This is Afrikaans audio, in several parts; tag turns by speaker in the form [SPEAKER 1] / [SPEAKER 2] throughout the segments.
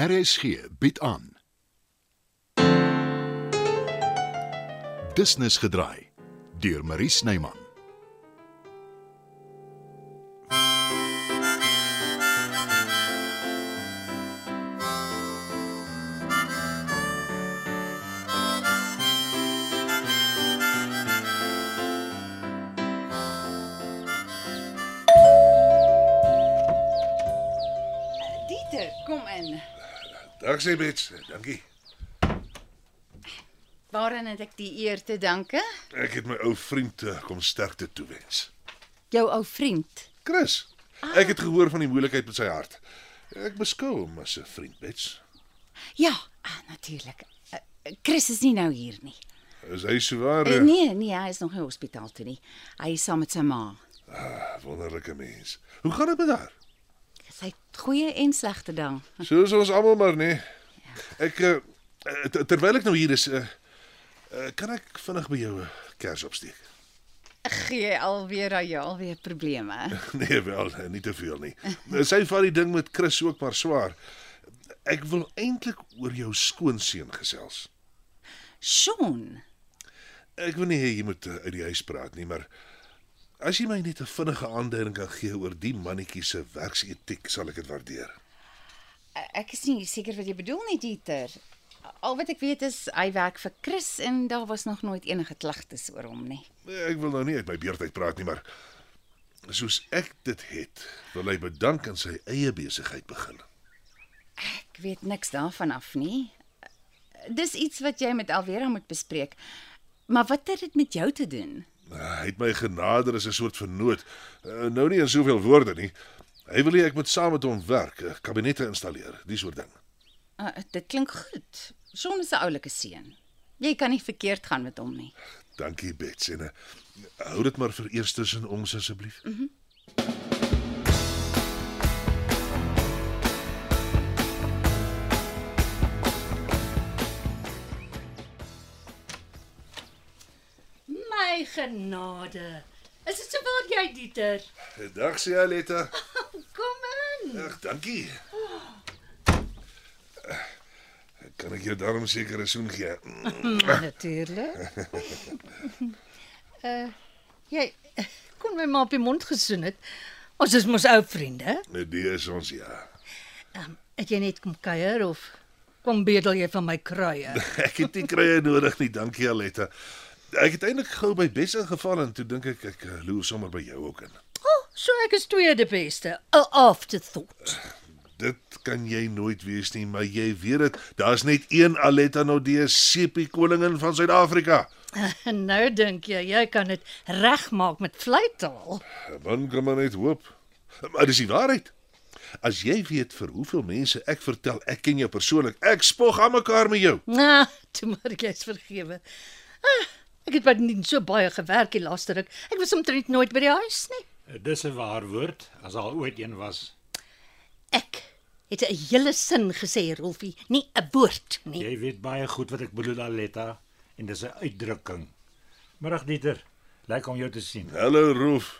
[SPEAKER 1] RSG bied aan. Business gedraai deur Marie Snyman.
[SPEAKER 2] Dieter, kom in.
[SPEAKER 3] Dag sê Bets, dankie.
[SPEAKER 2] Waaraan het ek die eer te danke?
[SPEAKER 3] Ek het my ou vriend eh, kom sterkte toewens.
[SPEAKER 2] Jou ou vriend.
[SPEAKER 3] Chris, ek het gehoor van die moeilikheid met sy hart. Ek beskou hom as 'n vriend, Bets.
[SPEAKER 2] Ja, ah, natuurlik. Eh, eh, Chris is nie nou hier nie.
[SPEAKER 3] Is hy sowaar
[SPEAKER 2] Uh,
[SPEAKER 3] 'n
[SPEAKER 2] nee, nee, hy is nog nie hospitaal toe nie. Hy is saam met sy ma.
[SPEAKER 3] Ah, wonderlike mens? Hoe gaan dit met haar?
[SPEAKER 2] Sy het goeie en slegte dae.
[SPEAKER 3] Soos ons almal maar, nee. Ek eh, eh, ter- terwyl ek nou hier is, eh, eh, kan ek vinnig by jou 'n kers opsteek?
[SPEAKER 2] Gee alweer aan jou alweer probleme.
[SPEAKER 3] Nee, wel, eh, nie te veel nie. Sy vat die ding met Chris ook maar swaar. Ek wil eintlik oor jou skoonseun gesels.
[SPEAKER 2] Sean,
[SPEAKER 3] Ek wil nie hê jy moet eh, uit die huis praat nie, maar as jy my net 'n vinnige aanduiding kan gee oor die mannetjie se werksetiek, sal ek dit waardeer.
[SPEAKER 2] eh, ek is nie seker wat jy bedoel nie, Dieter. Al wat ek weet is hy werk vir Chris en daar was nog nooit enige klagtes oor hom nie.
[SPEAKER 3] Eh, Ek wil nou nie uit my beurt uit praat nie, maar soos ek dit het, wil hy bedank aan sy eie besigheid begin.
[SPEAKER 2] Ek weet niks daarvan af nie. Dis iets wat jy met Alvera moet bespreek. Maar wat het dit met jou te doen?
[SPEAKER 3] Eh, Hy het my genader as 'n soort vernoot. Eh, Nou nie in soveel woorde nie. Hy wil hê ek moet saam met hom werk, eh, kabinette installeer, die soort ding.
[SPEAKER 2] Uh, dit klink goed. Sean is 'n oulike seun. Jy kan nie verkeerd gaan met hom nie.
[SPEAKER 3] Dankie Bets en eh, hou dit maar vir eers tussen ons asseblief.
[SPEAKER 4] My genade. Is dit sowaar jy Dieter?
[SPEAKER 3] Dag Sialetta.
[SPEAKER 4] Kom in.
[SPEAKER 3] Ag, dankie. Eh, Kan ek jou daarom seker 'n soen gee? Mm,
[SPEAKER 4] Natuurlik. uh jy kon my maar op die mond gesoen het. Ons is mos ou vriende.
[SPEAKER 3] Nee, die is ons ja.
[SPEAKER 4] Um, het jy net kom kuier of kom bedel jy van my kruie?
[SPEAKER 3] Ek het nie kruie nodig nie, dankie Aletta. Ek het eintlik gou by Bess ingeval en toe dink ek ek eh, loer sommer by jou ook in.
[SPEAKER 4] Oh, so ek is tweede beste. 'n Afterthought.
[SPEAKER 3] Dit kan jy nooit wees nie, maar jy weet dit, daar's net een Aletta nou Nodee sepie koningin van Suid-Afrika.
[SPEAKER 4] En nou dink jy jy kan dit regmaak met vleitaal.
[SPEAKER 3] Man kan maar net hoop. Maar dis die waarheid. As jy weet vir hoeveel mense ek vertel ek ken jou persoonlik, ek spog aan mekaar met jou.
[SPEAKER 4] Na, Ah, toe maar jy's vergewe. Ah, ek het baie nie so baie gewerk die laaste ruk. Ek was omtrent nooit by die huis nie.
[SPEAKER 5] Eh, Dis 'n waar woord, as al ooit een was.
[SPEAKER 4] Ek het 'n hele sin gesê, Rolfie, nie 'n woord nie.
[SPEAKER 5] Jy weet baie goed wat ek bedoel, Aletta, en dis 'n uitdrukking. Middag Dieter, lekker om jou te sien.
[SPEAKER 3] Hallo Roof.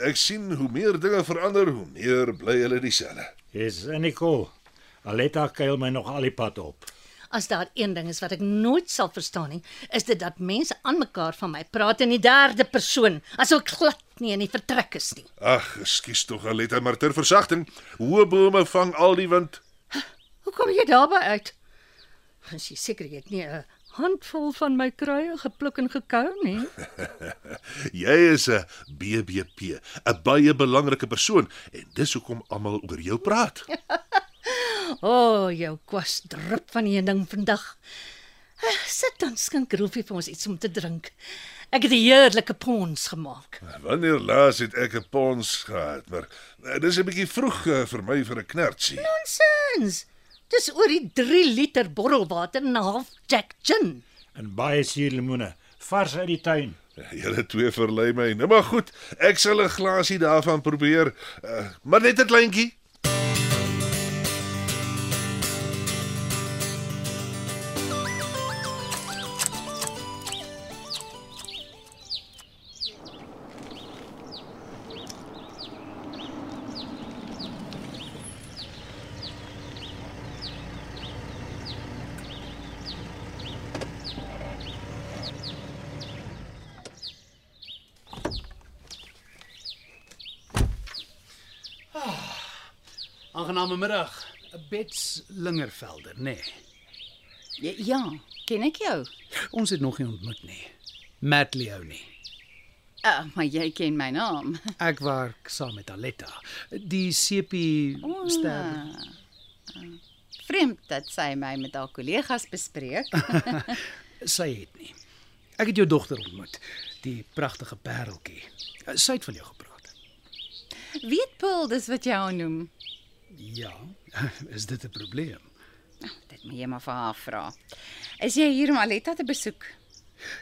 [SPEAKER 3] Ek sien hoe meer dinge verander, hoe meer bly hulle dieselfde.
[SPEAKER 5] Jy's en Nicole. Aletta kuil my nog al die pad op.
[SPEAKER 4] As daar een ding is wat ek nooit sal verstaan nie, is dit dat mense aan mekaar van my praat in die derde persoon, asof ek glad nie in die vertrek is nie.
[SPEAKER 3] Ag, ekskuus tog Aletta, maar ter versagting, hoë bome vang al die wind.
[SPEAKER 4] Hoe kom jy daarby uit? As jy seker jy het nie 'n handvol van my kruie gepluk en gekou nie.
[SPEAKER 3] Jy is 'n BBP, 'n baie belangrike persoon en dis hoekom almal oor jou praat.
[SPEAKER 4] O, oh, jou kwas drup van een ding vandag. Ah, Sit dan skink Rolfie vir ons iets om te drink. Ek het 'n heerlike pons gemaak.
[SPEAKER 3] Wanneer laas het ek 'n pons gehad, maar eh, dis 'n bietjie vroeg eh, vir my vir 'n knertsie.
[SPEAKER 4] Nonsens. Dis oor die 3 liter bottelwater en 'n half Jack gin.
[SPEAKER 5] En baie suurlemoene, vars uit die tuin.
[SPEAKER 3] Julle twee verlei my. Nou maar goed, ek sal 'n glasie daarvan probeer, eh, maar net 'n kleintjie.
[SPEAKER 6] Aangename middag. Bets Lingervelder, nê. Nee.
[SPEAKER 2] Ja, ken ek jou?
[SPEAKER 6] Ons het nog nie ontmoet nie. Matt Leoni.
[SPEAKER 2] Ah, maar jy ken my naam.
[SPEAKER 6] Ek werk saam met Aletta, die CP ster.
[SPEAKER 2] Vreemd dat sy my met haar kollegas bespreek.
[SPEAKER 6] Sy het nie. Ek het jou dogter ontmoet, die pragtige pareltjie. Eh, Sy het van jou gepraat.
[SPEAKER 2] Weet Paul dis wat jy haar noem?
[SPEAKER 6] Ja, is dit 'n probleem?
[SPEAKER 2] Dit moet jy maar vir haar vra. Is jy hier om Aletta te besoek?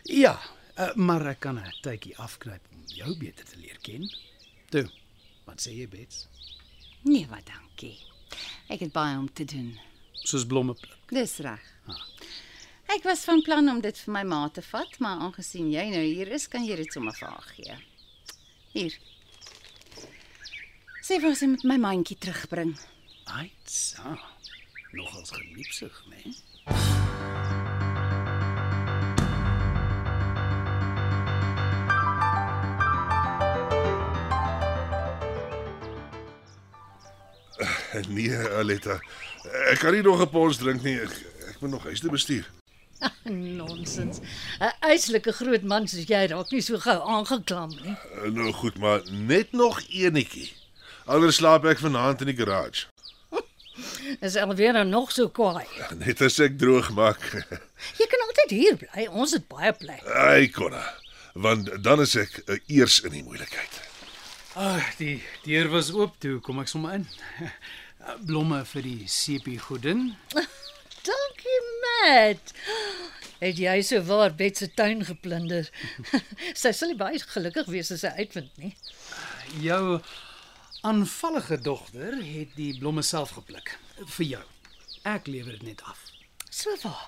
[SPEAKER 6] Ja, eh, maar ek kan 'n tydjie afknyp om jou beter te leer ken. Toe, wat sê jy, Bets?
[SPEAKER 2] Nee, wat dankie. Ek het baie om te doen.
[SPEAKER 6] Soos blomme pluk.
[SPEAKER 2] Dis reg. Ek was van plan om dit vir my ma te vat, maar aangesien jy nou hier is, kan jy dit sommer vir haar gee. Hier. Sê vir sy met my mandjie terugbring.
[SPEAKER 6] Aitsa. Nogals geliefsig, né? Nee?
[SPEAKER 3] Nee, Aletta. eh, Ek kan nie nog 'n pons drink nie. Ek, ek moet nog huis toe bestuur.
[SPEAKER 4] Ah, Nonsens. 'n Uitslike groot man soos jy raak nie so gou aangeklam nie.
[SPEAKER 3] Eh, Nou goed, maar net nog eenetjie. Anders slaap ek vanaand in die garage.
[SPEAKER 4] Is alweer nou nog so kwaai.
[SPEAKER 3] Net as ek droog maak.
[SPEAKER 4] Jy kan altyd hier bly. Ons het baie plek.
[SPEAKER 3] Ai, Konna. Want dan is ek eh, eers in die moeilikheid.
[SPEAKER 6] Ag, die deur was oop toe, kom ek sommer in. Blomme vir die CP godin.
[SPEAKER 4] Dankie, Matt. Het jy so waar Bet se tuin geplunder? sy sal nie baie gelukkig wees as sy uitvind nie.
[SPEAKER 6] Jou aanvallige dogter het die blomme self gepluk vir jou. Ek lewer dit net af.
[SPEAKER 4] So waar.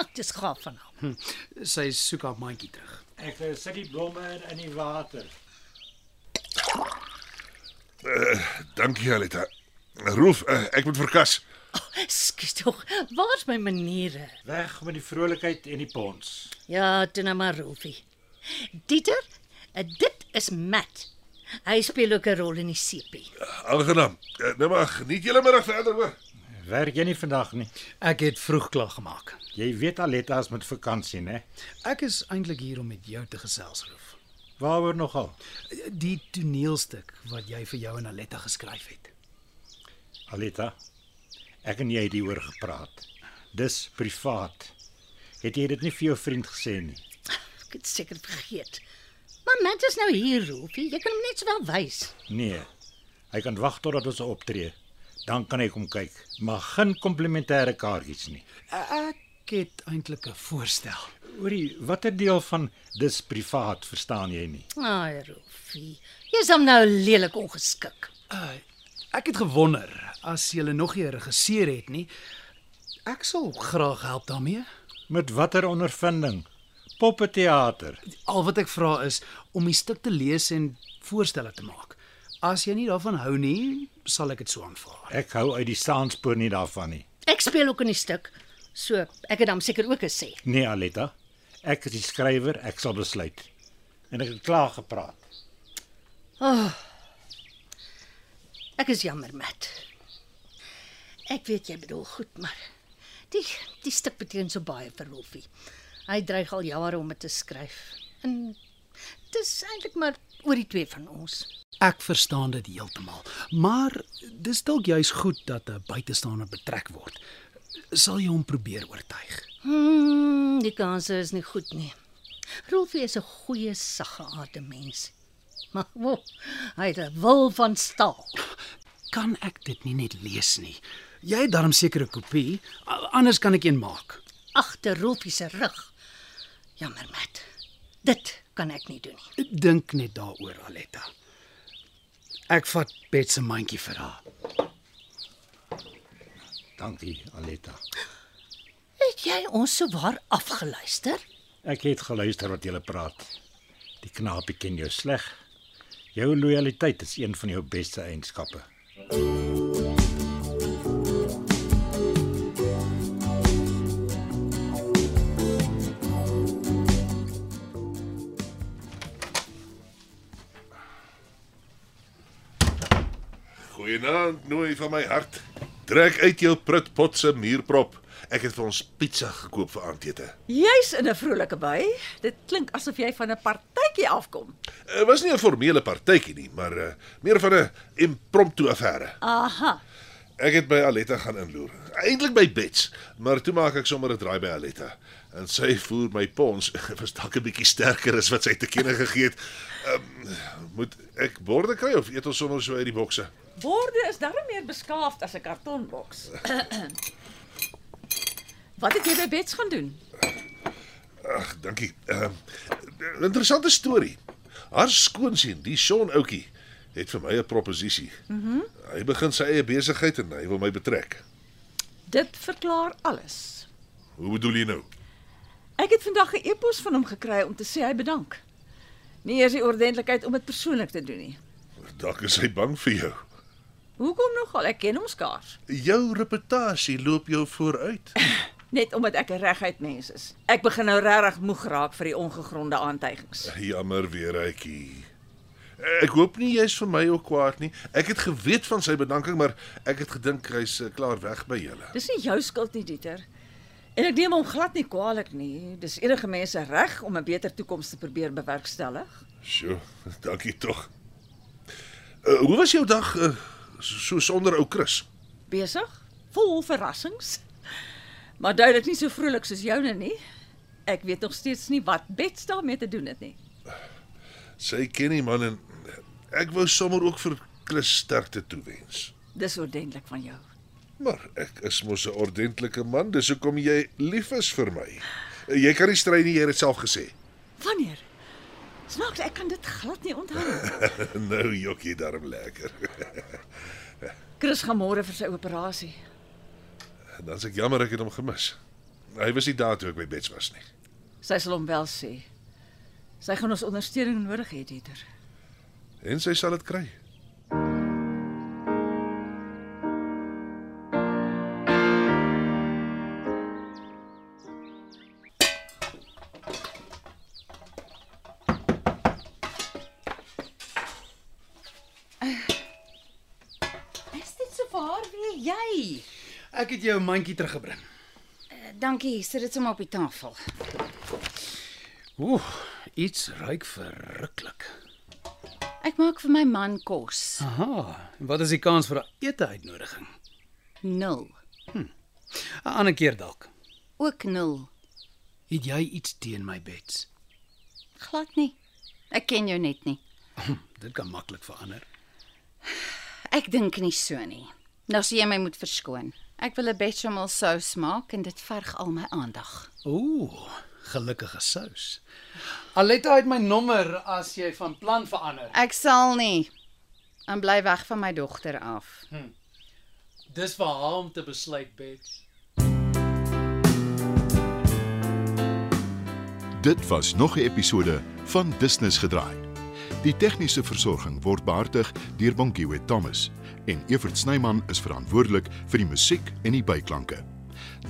[SPEAKER 4] Ag, dis gaaf van hom.
[SPEAKER 6] Hm, Sy soek haar mandjie terug.
[SPEAKER 5] Ek eh, sit die blomme in, in die water.
[SPEAKER 3] Dankie, Aletta. Roef, eh, ek moet verkas.
[SPEAKER 4] Skus tog. Waar's my maniere?
[SPEAKER 5] Weg met die vrolikheid en die pons.
[SPEAKER 4] Ja, toe nou maar Rolfie. Dieter, eh, dit is Matt. Hy speel ook 'n rol in die sepie.
[SPEAKER 3] Aangenaam. Eh, Nou maar geniet julle middag verder hoor.
[SPEAKER 5] Werk jy nie vandag nie?
[SPEAKER 6] Ek het vroeg klaar gemaak.
[SPEAKER 5] Jy weet Aletta is met vakansie, né?
[SPEAKER 6] Ek is eintlik hier om met jou te gesels, Roof.
[SPEAKER 5] Waaroor nogal?
[SPEAKER 6] Die toneelstuk wat jy vir jou en Aletta geskryf het.
[SPEAKER 5] Aletta, ek en jy het hieroor gepraat. Dis privaat. Het jy dit nie vir jou vriend gesê nie?
[SPEAKER 4] Ek het seker vergeet. Maar Matt is nou hier, Rolfie. Jy kan hom net sowel wys.
[SPEAKER 5] Nee. Hy kan wag totdat ons optree. Dan kan hy kom kyk, maar geen komplimentêre kaartjies nie.
[SPEAKER 6] Ek het eintlik 'n voorstel.
[SPEAKER 5] Hoorie, watter deel van dis privaat verstaan jy nie?
[SPEAKER 4] Ai, Rolfie. Jy's hom nou lelik ongeskik.
[SPEAKER 6] Uh, ek het gewonder as jy nog nie 'n regisseur het nie. Ek sal graag help daarmee.
[SPEAKER 5] Met watter ondervinding? Poppeteater.
[SPEAKER 6] Al wat ek vra is om die stuk te lees en voorstelle te maak. As jy nie daarvan hou nie, sal ek dit so aanvaar.
[SPEAKER 5] Ek hou uit die saanspoor nie daarvan nie.
[SPEAKER 4] Ek speel ook in die stuk. So, ek het hom seker ook gesê.
[SPEAKER 5] Nee, Aletta. Ek is die skrywer, ek sal besluit. En ek het klaar gepraat.
[SPEAKER 4] Ek is jammer, Matt. Ek weet jy bedoel goed, maar die die stuk beteken so baie vir Rolfie. Hy dreig al jare om dit te skryf. En dis eintlik maar oor die twee van ons.
[SPEAKER 6] Ek verstaan dit heeltemal, maar dis dalk juis goed dat 'n buitestander betrek word. Sal jy hom probeer oortuig?
[SPEAKER 4] Hmm, die kans is nie goed nie. Rolfie is 'n goeie, saggeaarde mens. Maar wow, hy het 'n wil van staal.
[SPEAKER 6] Kan ek dit nie net lees nie? Jy het darm seker 'n kopie, a- anders kan ek een maak.
[SPEAKER 4] agter Rolfie se rug. Jammer, Matt. Dit kan ek nie doen nie.
[SPEAKER 6] Dink net daaroor, Aletta. Ek vat Bet se mandjie vir haar.
[SPEAKER 5] Dankie, Aletta.
[SPEAKER 4] Het jy ons sowaar afgeluister?
[SPEAKER 5] Ek het geluister wat jy praat. Die knaapie ken jou sleg. Jou lojaliteit is een van jou beste eienskappe.
[SPEAKER 3] Goeie Genant nooi van my hart. Trek uit jou prutpot se muurprop. Ek het vir ons pizza gekoop vir aandete.
[SPEAKER 7] Jy's in 'n vrolike by. Dit klink asof jy van 'n partytjie afkom.
[SPEAKER 3] Dit Eh, was nie 'n formele partytjie nie, maar uh, meer van 'n impromptu affære.
[SPEAKER 7] Aha.
[SPEAKER 3] Ek het by Aletta gaan inloer. Eintlik by Bets, maar toe maak ek sommer 'n draai by Aletta. En sy voer my pons was dalk 'n bietjie sterker as wat sy te kenne gegee het. Um, moet ek borde kry of eet ons sommer so uit die bokse?
[SPEAKER 7] Borde is darm meer beskaafd as 'n kartonboks. Wat het jy by Bets gaan doen?
[SPEAKER 3] Ag, dankie. Ehm um, interessante storie. Haar skoonsien, die Sean ouetjie, het vir my 'n proposisie. Mhm. Mm hy begin sy eie besigheid en hy wil my betrek.
[SPEAKER 7] Dit verklaar alles.
[SPEAKER 3] Hoe bedoel jy nou?
[SPEAKER 7] Ek het vandag 'n e-pos van hom gekry om te sê hy bedank. Nie eers die ordentlikheid om dit persoonlik te doen nie.
[SPEAKER 3] Dalk is hy bang vir jou.
[SPEAKER 7] Hoekom nogal? Ek ken hom skaars.
[SPEAKER 3] Jou reputasie loop jou vooruit.
[SPEAKER 7] Net omdat ek 'n reguit mens is. Ek begin nou regtig moeg raak vir die ongegronde aantuigings.
[SPEAKER 3] Ja, Jammer weer uitjie. Ek hoop nie jy's vir my ook kwaad nie. Ek het geweet van sy bedanking, maar ek het gedink hy's eh, klaar weg by julle.
[SPEAKER 7] Dis nie jou skuld nie, Dieter. En ek neem hom glad nie kwaadlik nie. Dis enige mens se reg om 'n beter toekoms te probeer bewerkstellig.
[SPEAKER 3] Sjoe, dankie tog. Uh, hoe was jou dag uh, so sonder ou Chris?
[SPEAKER 7] Besig, vol verrassings. Maar duidelik nie so vrolik soos joune nie. Ek weet nog steeds nie wat Bets daarmee te doen het nie.
[SPEAKER 3] Sy ken die man en ek wou sommer ook vir Chris sterkte toewens.
[SPEAKER 7] Dis ordentlik van jou.
[SPEAKER 3] Maar ek is mos 'n ordentlike man, dis hoekom jy lief is vir my. Uh, Jy kan nie strei nie, jy het dit self gesê.
[SPEAKER 7] Wanneer? Snaaks, ek kan dit glad nie onthou nie.
[SPEAKER 3] nou jokkie darm lekker.
[SPEAKER 7] Chris gaan môre vir sy operasie.
[SPEAKER 3] Dan sê ek jammer ek het hom gemis. Hy was nie daar toe ek by Bets was nie.
[SPEAKER 7] Sy sal hom wel sê. Sy gaan ons ondersteuning nodig hê, Dieter.
[SPEAKER 3] En sy sal dit kry.
[SPEAKER 2] Is dit so waar wie jy?
[SPEAKER 6] Ek het jou 'n mandjie teruggebring.
[SPEAKER 2] Eh, Dankie, sit dit sommer op die tafel.
[SPEAKER 6] Ooh, iets ruik verruklik.
[SPEAKER 2] Ek maak vir my man kos.
[SPEAKER 6] Aha, en wat is die kans vir 'n ete uitnodiging?
[SPEAKER 2] Nul.
[SPEAKER 6] 'n Ander keer dalk.
[SPEAKER 2] Ook nul.
[SPEAKER 6] Het jy iets teen my bets?
[SPEAKER 2] Glad nie. Ek ken jou net nie.
[SPEAKER 6] Dit kan maklik verander.
[SPEAKER 2] Ek dink nie so nie. Nou sê jy my moet verskoon. Ek wil 'n bechamel sous maak en dit verg al my aandag.
[SPEAKER 6] Ooh, gelukkige sous. Aletta het my nommer as jy van plan verander.
[SPEAKER 2] Ek sal nie. En bly weg van my dogter af.
[SPEAKER 6] Dis vir haar om te besluit, Bets.
[SPEAKER 1] Dit was nog 'n episode van Business gedraai. Die tegniese versorging word behartig deur Bonnie Witt Thomas en Evert Snyman is verantwoordelik vir die musiek en die byklanke.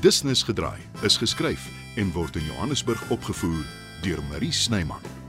[SPEAKER 1] Business gedraai is geskryf en word in Johannesburg opgevoer deur Marie Snyman.